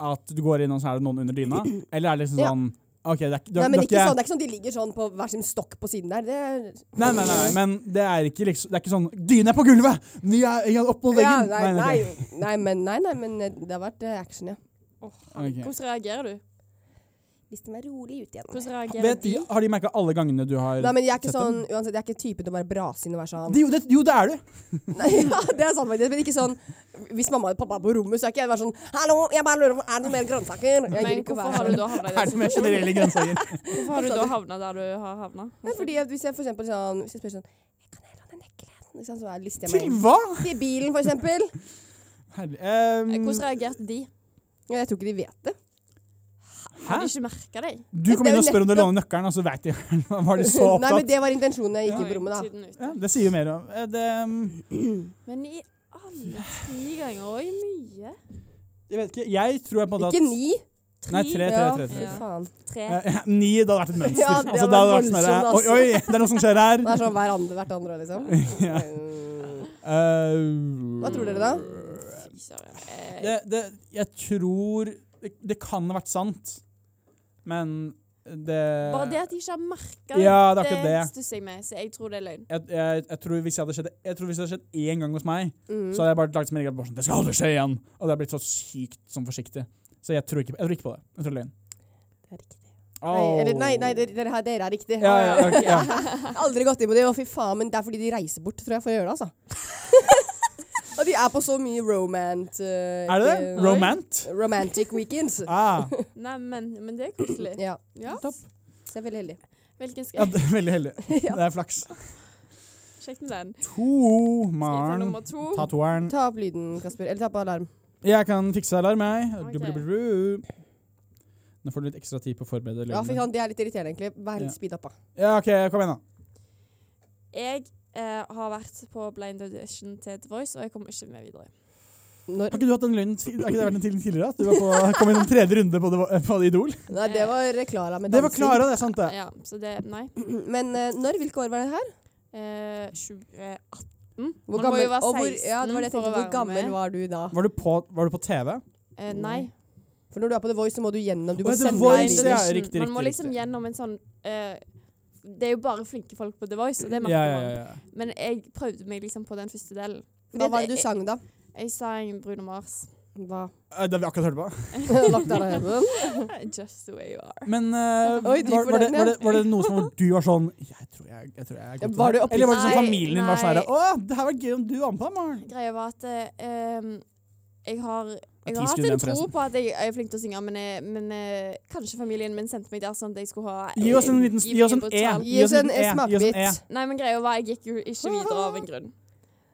Speaker 5: at du går inn og så er det noen under dyna? Eller er det liksom
Speaker 6: Ja.
Speaker 5: sånn OK, det er, ikke- du,
Speaker 6: Nei,
Speaker 5: har- du
Speaker 6: men
Speaker 5: har
Speaker 6: ikke sånn, Det er ikke sånn de ligger sånn på hver sin stokk på siden der. Det er,
Speaker 5: Nei, nei, nei, nei, men det er ikke liksom Det er ikke sånn Dyna er på gulvet! Ny er er opp mot
Speaker 6: ja,
Speaker 5: veggen!
Speaker 6: nei, nei,
Speaker 5: ok.
Speaker 6: nei, men, nei, nei, men det har vært eh, action, ja.
Speaker 5: Ok.
Speaker 3: Hvordan reagerer du?
Speaker 6: Hvis de er rolig ute igjen.
Speaker 3: Hvordan reagerer
Speaker 5: Vet de, har de merka alle gangene du har
Speaker 6: Nei, men jeg er ikke
Speaker 5: sett
Speaker 6: sånn, uansett, jeg er ikke typen til å bare brase inn og være sånn
Speaker 5: det, jo, det, jo, det er du!
Speaker 6: Nei, ja, Det er sant faktisk, men ikke sånn Hvis mamma og pappa er på rommet, så er ikke jeg bare sånn Hallo, jeg bare lurer på, er det noe mer grønnsaker? Jeg gidder
Speaker 3: Men
Speaker 6: ikke å
Speaker 3: hvorfor
Speaker 6: være
Speaker 3: har du
Speaker 6: sånn.
Speaker 3: da havnet
Speaker 5: Er
Speaker 3: der?
Speaker 5: det med generelle grønnsaker?
Speaker 3: Hvorfor har du da havnet der du har havnet?
Speaker 6: Nei, fordi at hvis jeg for eksempel sånn Hvis jeg spør sånn «Jeg Kan jeg låne nøkkelen? Ikke sant, Så er lister jeg meg
Speaker 5: Til
Speaker 6: inn.
Speaker 5: hva?!
Speaker 6: Til bilen, for eksempel.
Speaker 5: Herlig. ehm,
Speaker 3: Eh, Hvordan reagerte de?
Speaker 6: Ja, jeg tror ikke de vet det.
Speaker 5: Hæ?
Speaker 3: Har de ikke merka deg?
Speaker 5: du kom
Speaker 6: Det er
Speaker 5: inn og
Speaker 6: jo
Speaker 5: spør om du låner nøkkelen, og så veit de Var de så
Speaker 6: Nei, men
Speaker 5: opptatt?
Speaker 6: det var intensjonen jeg gikk inn på rommet, da.
Speaker 3: Tiden ute.
Speaker 5: Ja, det sier jo mer om eh, det, ehm,
Speaker 3: Men i alle tre ganger Oi, mye.
Speaker 5: Jeg vet ikke. Jeg tror jeg på en måte at
Speaker 6: Ikke ni.
Speaker 5: Nei, tre, tre,
Speaker 6: Ja,
Speaker 5: tre.
Speaker 6: fy
Speaker 5: tre.
Speaker 3: Ja.
Speaker 6: faen.
Speaker 3: Tre.
Speaker 5: Eh, Ni, det hadde vært et mønster.
Speaker 6: Ja, det
Speaker 5: altså, det hadde
Speaker 6: hadde
Speaker 5: vært sånn
Speaker 6: vært
Speaker 5: der,
Speaker 6: voldsomt,
Speaker 5: Oi, oi, det er noe som skjer her!
Speaker 6: Det er sånn hver andre, hvert andre, liksom.
Speaker 5: Ja.
Speaker 6: Mm.
Speaker 5: Eh,
Speaker 6: Hva tror dere, da?
Speaker 3: Fy søren. Eh,
Speaker 5: det, det, jeg tror det, det kan ha vært sant, men det
Speaker 3: Bare det at de ikke har merka det,
Speaker 5: Ja, det er akkurat
Speaker 3: det
Speaker 5: det.
Speaker 3: stusser jeg med, så jeg tror det er løgn.
Speaker 5: Jeg, jeg, jeg, tror hvis jeg, hadde skjedd, jeg tror hvis det hadde skjedd én gang hos meg,
Speaker 6: Mm.
Speaker 5: så hadde jeg bare lagt som en regel at bare sånn, det skal aldri skje igjen. Og det hadde jeg blitt så sykt sånn forsiktig. Så jeg tror ikke, jeg tror ikke på det. Jeg tror det er løgn.
Speaker 6: Det er riktig.
Speaker 5: Åh.
Speaker 6: Nei, eller, nei, nei dere, dere, har- dere er riktig.
Speaker 5: Ja, ja, ok, ja.
Speaker 6: Jeg har aldri gått inn på det, og fy faen, men det er fordi de reiser bort, tror jeg, for å gjøre det, altså. og de er på så mye romant... eh,
Speaker 5: Er det det?
Speaker 6: eh,
Speaker 5: Romant?
Speaker 6: Romantic weekends.
Speaker 5: Ah,
Speaker 3: Nei, men, men det er koselig.
Speaker 6: Ja,
Speaker 3: Ja.
Speaker 5: topp.
Speaker 6: så jeg er veldig heldig.
Speaker 3: Hvilken
Speaker 5: Ja,
Speaker 3: skal
Speaker 5: det er veldig heldig.
Speaker 6: Ja.
Speaker 5: Det er flaks.
Speaker 3: Sjekk med den.
Speaker 5: To,
Speaker 3: Skal jeg ta
Speaker 5: Maren.
Speaker 3: nummer to?
Speaker 5: Ta toeren.
Speaker 6: Ta opp lyden, Kasper. Eller ta på alarm.
Speaker 5: Jeg kan fikse alarm, jeg.
Speaker 3: Ok.
Speaker 5: Du, bru, bru, bru. Nå får du litt ekstra tid på å forberede
Speaker 6: Ja, for
Speaker 5: lyden.
Speaker 6: faen, Det er litt irriterende, egentlig. Vær litt
Speaker 5: Ja.
Speaker 6: speed up, da.
Speaker 5: Ja, OK, kom igjen, da.
Speaker 3: Jeg eh, har vært på blind audition til The Voice, og jeg kom ikke med videre.
Speaker 6: Når?
Speaker 5: Har ikke du hatt den løgnen ti- Har ikke det vært en til tidligere? At du var på, kom inn en tredje runde på, det, på Idol?
Speaker 6: Nei, det var Klara med
Speaker 5: Det var
Speaker 6: dansing.
Speaker 5: Klara, det er sant, det.
Speaker 3: Ja, så det Nei.
Speaker 6: Men eh, når? Hvilke år var det her?
Speaker 3: Eh, 2018.
Speaker 6: Hvor
Speaker 3: Man må
Speaker 6: gammel-
Speaker 3: jo være
Speaker 6: og
Speaker 3: 16
Speaker 6: hvor, ja, det var det jeg tenkte.
Speaker 3: for å
Speaker 6: Hvor
Speaker 3: være
Speaker 6: gammel
Speaker 3: med.
Speaker 6: var du da?
Speaker 5: Var du på, var du på TV?
Speaker 3: Eh, nei.
Speaker 6: For når du er på The Voice, så må du gjennom. Du
Speaker 5: Å,
Speaker 6: må
Speaker 5: ja, The
Speaker 6: sende
Speaker 5: Voice,
Speaker 6: deg-
Speaker 5: ja.
Speaker 3: Audition.
Speaker 5: riktig,
Speaker 3: Man må
Speaker 5: riktig,
Speaker 3: liksom
Speaker 5: riktig.
Speaker 3: gjennom en sånn eh, Det er jo bare flinke folk på The Voice, og det
Speaker 5: Ja,
Speaker 3: merker
Speaker 5: ja, ja, ja.
Speaker 3: man. Men jeg prøvde meg liksom på den første delen.
Speaker 6: Hva var det du sang, da?
Speaker 3: Jeg sang Bruno Mars.
Speaker 6: Hva?
Speaker 5: Eh, Det har vi akkurat hørt på.
Speaker 6: Lagt deg ned i den?
Speaker 3: Just the way you are.
Speaker 5: Men eh,
Speaker 6: Oi, dyp
Speaker 5: var,
Speaker 6: for
Speaker 5: var, det,
Speaker 6: den, ja.
Speaker 5: var, det, var det noe som hvor du var sånn Jeg tror jeg, jeg, tror jeg er god til
Speaker 6: Var du
Speaker 5: det her».
Speaker 6: opp-
Speaker 5: Eller var det sånn
Speaker 3: Nei,
Speaker 5: familien var sånn
Speaker 3: nei.
Speaker 5: herre Å, det her var gøy om du var med på det, Maren.
Speaker 3: Greia var at eh, um, jeg har jeg har
Speaker 5: Ti
Speaker 3: hatt
Speaker 5: studenter,
Speaker 3: en tro
Speaker 5: forresten.
Speaker 3: på at jeg er flink til å synge, men, eh, men eh, kanskje familien min sendte meg der sånn at jeg skulle ha
Speaker 5: Gi oss en liten
Speaker 3: gi
Speaker 5: gi oss en
Speaker 3: meg på
Speaker 5: E.
Speaker 3: tall.
Speaker 6: Gi oss en
Speaker 5: liten E, gi oss en E.
Speaker 6: smakebit.
Speaker 3: Nei, men greia var jeg gikk jo ikke videre av en grunn.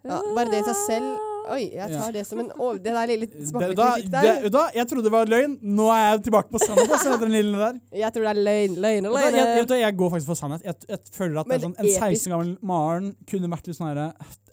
Speaker 6: Ja, bare det i seg selv Oi, jeg tar det som en over... Det der lille
Speaker 5: Da,
Speaker 6: smakebiten
Speaker 5: da,
Speaker 6: vi fikk der.
Speaker 5: det- da, jeg trodde det var løgn. Nå er jeg tilbake på sannhet. Altså, den lille der.
Speaker 6: Jeg tror det er løgn, løgn,
Speaker 5: Jeg, jeg,
Speaker 6: løgn.
Speaker 5: vet du, jeg går faktisk for sannhet. Jeg, jeg føler at det
Speaker 6: Men
Speaker 5: er sånn, en
Speaker 6: episk.
Speaker 5: 16 år gammel Maren kunne vært litt sånn herre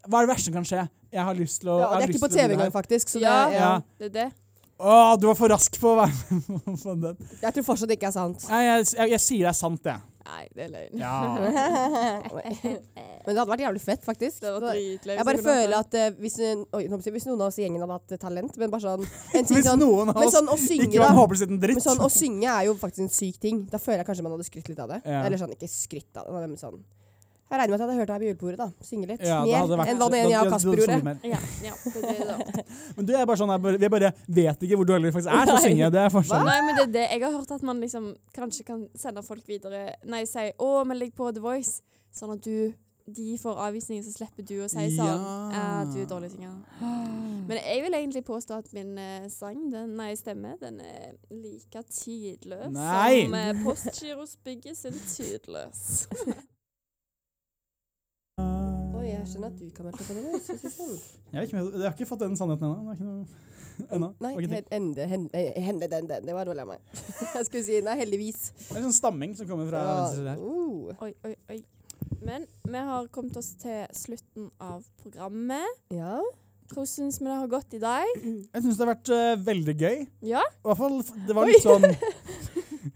Speaker 5: Hva er det verste som kan skje? Jeg har lyst til å
Speaker 6: Ja, og det
Speaker 5: jeg
Speaker 6: er
Speaker 5: har
Speaker 6: ikke
Speaker 5: lyst
Speaker 6: på
Speaker 5: til å
Speaker 6: TV
Speaker 5: bli
Speaker 6: engang,
Speaker 5: her.
Speaker 6: faktisk. Så det
Speaker 3: Ja.
Speaker 6: er, ja.
Speaker 5: Ja.
Speaker 3: Det er det.
Speaker 5: Å, du var for rask på å være med på den.
Speaker 6: Jeg tror fortsatt det ikke er sant.
Speaker 5: Nei, jeg, jeg, jeg sier det er sant, jeg.
Speaker 3: Nei, det er løgn.
Speaker 5: Ja.
Speaker 6: Men det hadde vært jævlig fett, faktisk.
Speaker 3: Det var dritløgn.
Speaker 6: Jeg bare føler at eh, hvis, eh, oi, nå må jeg si, hvis noen av oss i gjengen hadde hatt eh, talent, men bare sånn en ting
Speaker 5: Hvis
Speaker 6: sånn,
Speaker 5: noen av
Speaker 6: Men
Speaker 5: oss
Speaker 6: sånn å synge,
Speaker 5: ikke var en
Speaker 6: da.
Speaker 5: håpløs liten
Speaker 6: Men
Speaker 5: dritt
Speaker 6: sånn å synge er jo faktisk en syk ting. Da føler jeg kanskje man hadde skrytt litt av det.
Speaker 5: Ja.
Speaker 6: Eller sånn, ikke skrytt av det, men sånn Jeg regner med at jeg hadde hørt deg på julebordet, da. Synge litt.
Speaker 5: Ja, det hadde
Speaker 6: Mer
Speaker 5: vært-
Speaker 6: enn hva det
Speaker 5: da-
Speaker 6: ene jeg og
Speaker 5: da- da-
Speaker 6: Kasper
Speaker 5: da-
Speaker 6: gjorde.
Speaker 5: mer.
Speaker 3: Ja, ja, det er det da.
Speaker 5: Men du jeg er bare sånn, jeg bare, vi bare vet ikke hvor dårlig vi faktisk er til å
Speaker 6: Nei.
Speaker 5: synge. Det er forskjellen.
Speaker 3: Nei, men det er det. Jeg har hørt at man liksom kanskje kan sende folk videre Nei, si 'Å, meld deg på The Voice', sånn at du de får avvisningen, så slipper du å si sånn
Speaker 5: Ja.
Speaker 3: ja. du er dårlig synger. Men jeg vil egentlig påstå at min eh, sang, den, nei, stemme, den er like tidløs
Speaker 5: Nei!
Speaker 3: som eh, Postgiros bygger sin tidløs.
Speaker 6: Oi, jeg skjønner at du kan melde deg på det. men jeg synes det er sånn.
Speaker 5: Jeg, vet ikke, om jeg- jeg har ikke fått den sannheten ennå. Det er ikke noe- ennå.
Speaker 6: Nei,
Speaker 5: Det var ikke
Speaker 6: hen- hende, hende, hende den, den. Det var dårlig av meg. Jeg skulle si nei, heldigvis.
Speaker 5: ting. Det er sånn stamming som kommer fra
Speaker 6: Ja,
Speaker 5: venstre her.
Speaker 6: oh.
Speaker 3: Oi, oi, oi. Men vi har kommet oss til slutten av programmet.
Speaker 6: ja.
Speaker 3: Hvordan syns vi det har gått i dag?
Speaker 5: Jeg syns det har vært eh, veldig gøy.
Speaker 3: Ja?
Speaker 5: I hvert fall, f- det var litt sånn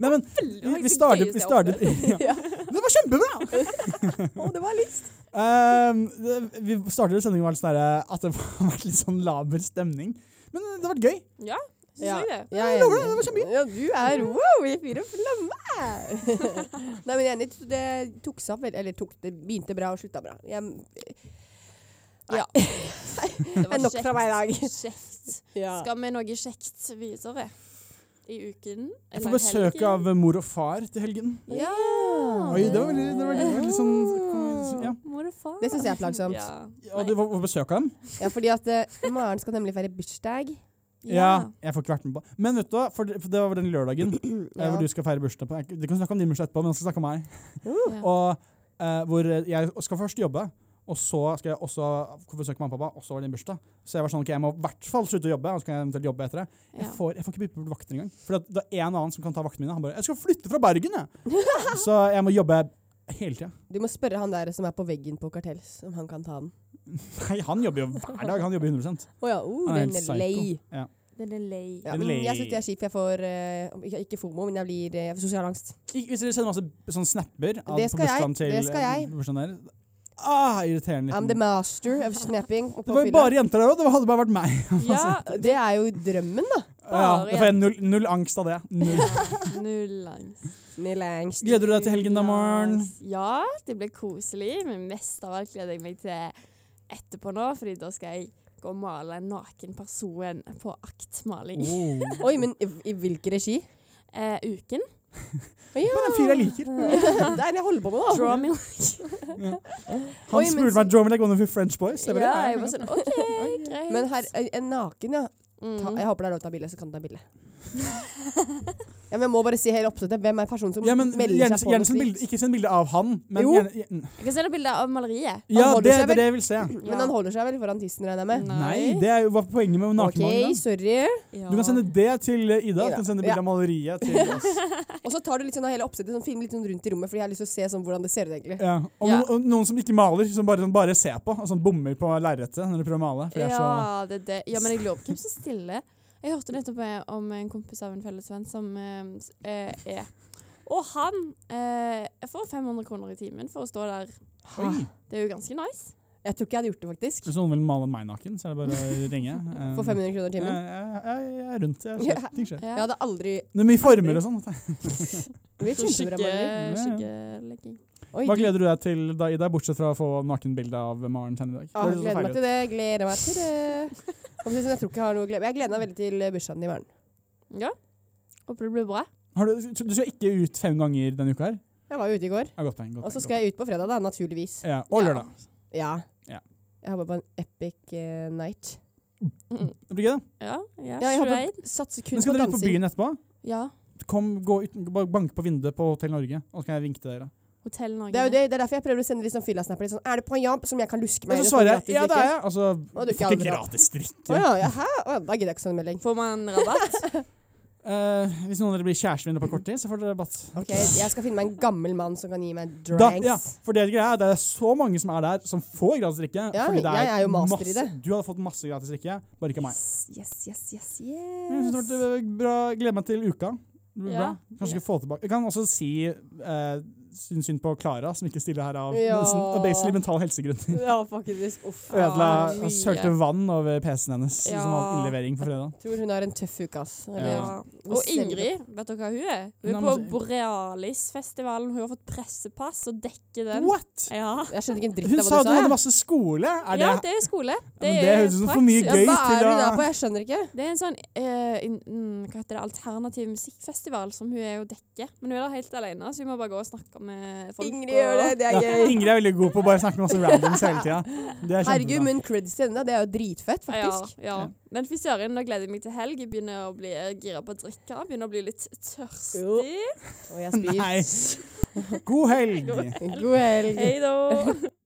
Speaker 5: Nei, men vi, vi startet, vi startet ja. Det var kjempebra!
Speaker 6: Å, det var lyst!
Speaker 5: Um, det, vi startet sendingen med litt sånn derre at det har vært litt sånn laber stemning. Men eh, det har vært gøy.
Speaker 3: Syns
Speaker 6: Ja.
Speaker 3: jeg det?
Speaker 6: Jeg
Speaker 5: lover deg, det var kjempefint.
Speaker 6: Ja, du er wow, jeg fyrer flamme! Nei, men jeg er enig, det tok seg opp veldig, eller tok, det begynte bra og slutta bra. Jeg,
Speaker 3: Ja.
Speaker 6: det er nok fra meg i dag.
Speaker 3: Kjekt. Skal vi noe kjekt videre i uken?
Speaker 5: Jeg får besøk av eh, mor og far til helgen.
Speaker 3: Ja!
Speaker 5: Oi, det var veldig, det var veldig, veldig sånn ja.
Speaker 3: Må du faen.
Speaker 6: Det synes jeg er plagsomt.
Speaker 3: Ja.
Speaker 5: Og du får får besøk av dem?
Speaker 6: Ja, fordi at eh, Maren skal nemlig feire bursdag.
Speaker 5: Ja. Jeg får ikke vært med på Men vet du hva, for det, for det var den lørdagen eh, hvor du skal feire bursdag på. Jeg- Du kan snakke om din bursdag etterpå, men jeg skal snakke om meg.
Speaker 3: Ja.
Speaker 5: Og eh, hvor jeg skal først jobbe, og så skal jeg også få besøk av mamma og pappa, og så var det din bursdag. Så jeg var sånn, ok, jeg må i hvert fall slutte å jobbe, og så kan jeg eventuelt jobbe etter det. Jeg
Speaker 3: Ja.
Speaker 5: får, jeg får ikke bytte bort vakter engang. For det er en annen som kan ta vaktene mine. Han bare, jeg skal flytte fra Bergen, jeg! så jeg må jobbe hele tida.
Speaker 6: Du må spørre han der som er på veggen på Kartell, om han kan ta den.
Speaker 5: Nei, han jobber jo hver dag. Han jobber 100
Speaker 6: Å ja, oh,
Speaker 5: Han er
Speaker 6: den
Speaker 5: helt
Speaker 6: er lei.
Speaker 5: psyko. Ja.
Speaker 3: Den er lei.
Speaker 6: Ja,
Speaker 5: Den er
Speaker 6: men
Speaker 5: lei.
Speaker 6: jeg syns det er kjipt. Jeg får eh, ikke- ikke fomo, men jeg blir eh, jeg får sosial angst.
Speaker 5: Ik- Hvis dere sender masse sånn snapper av,
Speaker 6: Det
Speaker 5: på
Speaker 6: skal jeg,
Speaker 5: bursdagen til
Speaker 6: det skal jeg.
Speaker 5: eh, bursdagen der ah, Irriterende.
Speaker 6: I'm the
Speaker 5: liten-
Speaker 6: master of snapping.
Speaker 5: Det var jo bare jenter der òg. Det hadde bare vært meg.
Speaker 3: Ja,
Speaker 6: Det er jo drømmen, da.
Speaker 5: Ja,
Speaker 3: Bare
Speaker 5: det får jeg null, null angst av det. Null.
Speaker 3: null angst.
Speaker 6: Nill angst.
Speaker 5: Gleder du deg til helgen da, Maren?
Speaker 3: Ja, det blir koselig. Men mest av alt gleder jeg meg til etterpå nå, fordi da skal jeg gå og male en naken person på aktmaling.
Speaker 5: Oh.
Speaker 6: Oi, men i, i hvilken regi?
Speaker 3: Eh, uken.
Speaker 5: Men en fyr jeg liker.
Speaker 6: det er det jeg holder på med, da.
Speaker 3: Draw me
Speaker 5: Han
Speaker 6: Oi, men
Speaker 5: spurte
Speaker 6: så-
Speaker 5: meg Joe, men jeg går for French Boys. Jeg bare,
Speaker 3: Ja,
Speaker 5: ja,
Speaker 3: jeg var
Speaker 5: ja.
Speaker 3: sånn OK, greit.
Speaker 6: Men her, en naken, ja. Ta,
Speaker 3: Mm.
Speaker 6: jeg håper det er lov til å ta bilde, så kan du ta bilde. ja, men jeg må bare si helt oppsettet, hvem er personen som
Speaker 5: Ja, men
Speaker 6: melder
Speaker 5: gjerne,
Speaker 6: seg på
Speaker 5: gjerne
Speaker 6: noe
Speaker 5: send bilde,
Speaker 6: slikt?
Speaker 5: ikke send bilde av han, men
Speaker 6: Jo.
Speaker 5: gjerne, gjerne-
Speaker 3: Jeg kan sende bilder av maleriet.
Speaker 5: Ja,
Speaker 6: holder
Speaker 5: det,
Speaker 6: seg
Speaker 5: det
Speaker 6: vel?
Speaker 5: er det jeg vil se.
Speaker 3: Ja.
Speaker 6: Men han holder seg vel foran tissen, regner jeg med?
Speaker 5: Nei, det er jo hva poenget med
Speaker 6: OK,
Speaker 5: nakenmaling. da.
Speaker 6: sorry.
Speaker 5: Du kan sende det til eh, Ida. Du kan sende
Speaker 6: Ja.
Speaker 5: bilde av maleriet til oss.
Speaker 6: Og så tar du litt sånn av hele oppsettet, sånn, filmer litt sånn rundt i rommet, fordi jeg har lyst til å se sånn hvordan det ser ut egentlig.
Speaker 5: Ja. Og
Speaker 3: Ja.
Speaker 5: noen- og noen som ikke maler, som bare, som bare ser på og sånn bommer på lerretet når de prøver å male. For de er så,
Speaker 3: Ja, det, er det. ja, men jeg lurer på hvem som stiller. Jeg hørte nettopp eh, om en kompis av en fellesvenn som eh, s- eh, er Og han eh, får 500 kroner i timen for å stå der.
Speaker 5: oi,
Speaker 3: Det er jo ganske nice.
Speaker 6: Jeg tror ikke jeg hadde gjort det, faktisk.
Speaker 5: Hvis noen vil male meg naken, så er det bare å ringe. Eh,
Speaker 6: For 500 kroner
Speaker 5: Jeg,
Speaker 6: timen.
Speaker 5: jeg, jeg, jeg er rundt. Jeg,
Speaker 6: Ja.
Speaker 5: skjer, ting skjer.
Speaker 3: Ja.
Speaker 6: Jeg hadde aldri
Speaker 5: Det er mye former og sånn.
Speaker 6: Det blir
Speaker 3: Så skikke,
Speaker 6: kjempebra, Marie.
Speaker 5: Ja, ja.
Speaker 3: skikkelegging.
Speaker 6: Oi,
Speaker 5: Hva gleder du deg til, da, Ida, bortsett fra å få nakenbilde av Maren Tenne i dag?
Speaker 6: Ja,
Speaker 5: Det er så
Speaker 6: Ah, gleder meg
Speaker 5: ferdig.
Speaker 6: til det. Gleder meg til det. Og Jeg tror ikke jeg har noe å glede meg Jeg gleder meg veldig til bursdagen i morgen.
Speaker 3: Håper det blir bra.
Speaker 5: Har du, du skal ikke ut fem ganger denne uka her?
Speaker 6: Jeg var jo ute i går.
Speaker 5: Ja, godt poeng. Godt,
Speaker 6: Og så skal jeg ut på fredag, da, naturligvis.
Speaker 5: ja, Og lørdag.
Speaker 6: Ja.
Speaker 5: Ja.
Speaker 6: Jeg håper på en epic eh, night.
Speaker 5: Det blir gøy, da.
Speaker 3: Ja, ja,
Speaker 6: Ja, jeg
Speaker 3: straight.
Speaker 6: håper Satser kun
Speaker 5: Men
Speaker 6: på
Speaker 5: skal dere ut på
Speaker 6: dansing.
Speaker 5: byen etterpå?
Speaker 3: ja.
Speaker 5: Kom, gå ut, bare bank på vinduet på Hotell Norge, og så kan jeg vinke til dere.
Speaker 3: Hotell Norge.
Speaker 6: Det er jo det, det er derfor jeg prøver å sende litt sånn fyllasnapper. Litt sånn, er du på en jobb som jeg kan luske
Speaker 5: Og
Speaker 6: meg
Speaker 5: så
Speaker 6: eller få
Speaker 5: svarer
Speaker 6: gratis
Speaker 5: jeg ja, det er
Speaker 6: drikke?»
Speaker 5: jeg. Altså,
Speaker 6: Å, du er ikke
Speaker 5: får ikke
Speaker 6: aldri-
Speaker 5: gratis drikke.
Speaker 6: Å ja, ja, hæ? Å, da gidder jeg ikke sånn melding.
Speaker 3: Får man rabatt?
Speaker 5: Eh, hvis noen av dere blir kjæresten mine på kort tid, så får dere rabatt.
Speaker 6: Ok, Jeg skal finne meg en gammel mann som kan gi meg
Speaker 5: Da, ja,
Speaker 6: dranks.
Speaker 5: for det, er greia, det er så mange som er der, som får gratis drikke.
Speaker 6: Ja,
Speaker 5: fordi det
Speaker 6: jeg er jo master i
Speaker 5: masse,
Speaker 6: det.
Speaker 5: Du hadde fått masse gratis drikke, bare ikke meg.
Speaker 3: yes, yes, yes,
Speaker 5: Jeg synes
Speaker 3: yes.
Speaker 5: det har vært eh, bra. Gleder meg til uka. Det blir
Speaker 3: Ja.
Speaker 5: bra. Kanskje vi skal få tilbake. Jeg kan også si eh, syns synd på Klara, som ikke stiller her av
Speaker 6: Ja.
Speaker 5: nesten, av basically mentale helsegrunner.
Speaker 6: Ja, faktisk. Uff.
Speaker 5: Ødela
Speaker 3: mye.
Speaker 5: og sølte vann over PC-en hennes
Speaker 3: Ja.
Speaker 5: som sånn hadde innlevering på fredag.
Speaker 6: Tror hun har en tøff uke, ass. Eller,
Speaker 5: Ja.
Speaker 3: Og Ingrid, vet dere hva hun er? Hun
Speaker 5: Nei,
Speaker 3: er på
Speaker 5: men-
Speaker 3: Borealis-festivalen. Hun har fått pressepass og dekker den.
Speaker 5: What?!
Speaker 3: Ja.
Speaker 6: Jeg skjønte ikke en dritt
Speaker 5: Hun
Speaker 6: av
Speaker 5: sa
Speaker 6: hva
Speaker 5: at
Speaker 6: du sa.
Speaker 5: hun hadde
Speaker 6: jeg.
Speaker 5: masse skole! Er det
Speaker 3: ja, det er skole. Det,
Speaker 5: Men det
Speaker 3: er
Speaker 5: høres ut som for mye
Speaker 3: praksis.
Speaker 6: Ja,
Speaker 5: gøy
Speaker 6: hva er hun
Speaker 5: til å-
Speaker 6: der på? Jeg skjønner ikke.
Speaker 3: Det er en sånn eh, in, mm, hva heter det, alternativ musikkfestival som hun er jo dekker. Men hun er der helt alene, så hun må bare gå og snakke med folk.
Speaker 6: Ingrid gjør det, det er
Speaker 5: ja,
Speaker 6: gøy.
Speaker 5: Ingrid er veldig god på å bare snakke med masse randoms hele tida. Det er
Speaker 6: Herregud,
Speaker 5: kjempebra.
Speaker 6: men creds til henne, det er jo dritfett, faktisk.
Speaker 3: Ja, ja. Men fy søren, nå gleder jeg meg til helg. Jeg begynner å bli gira på å drikke. Begynner å bli litt
Speaker 6: Jo.
Speaker 3: tørstig.
Speaker 6: Og jeg spyr.
Speaker 5: Nei. God helg!
Speaker 6: God helg.
Speaker 3: Hei da.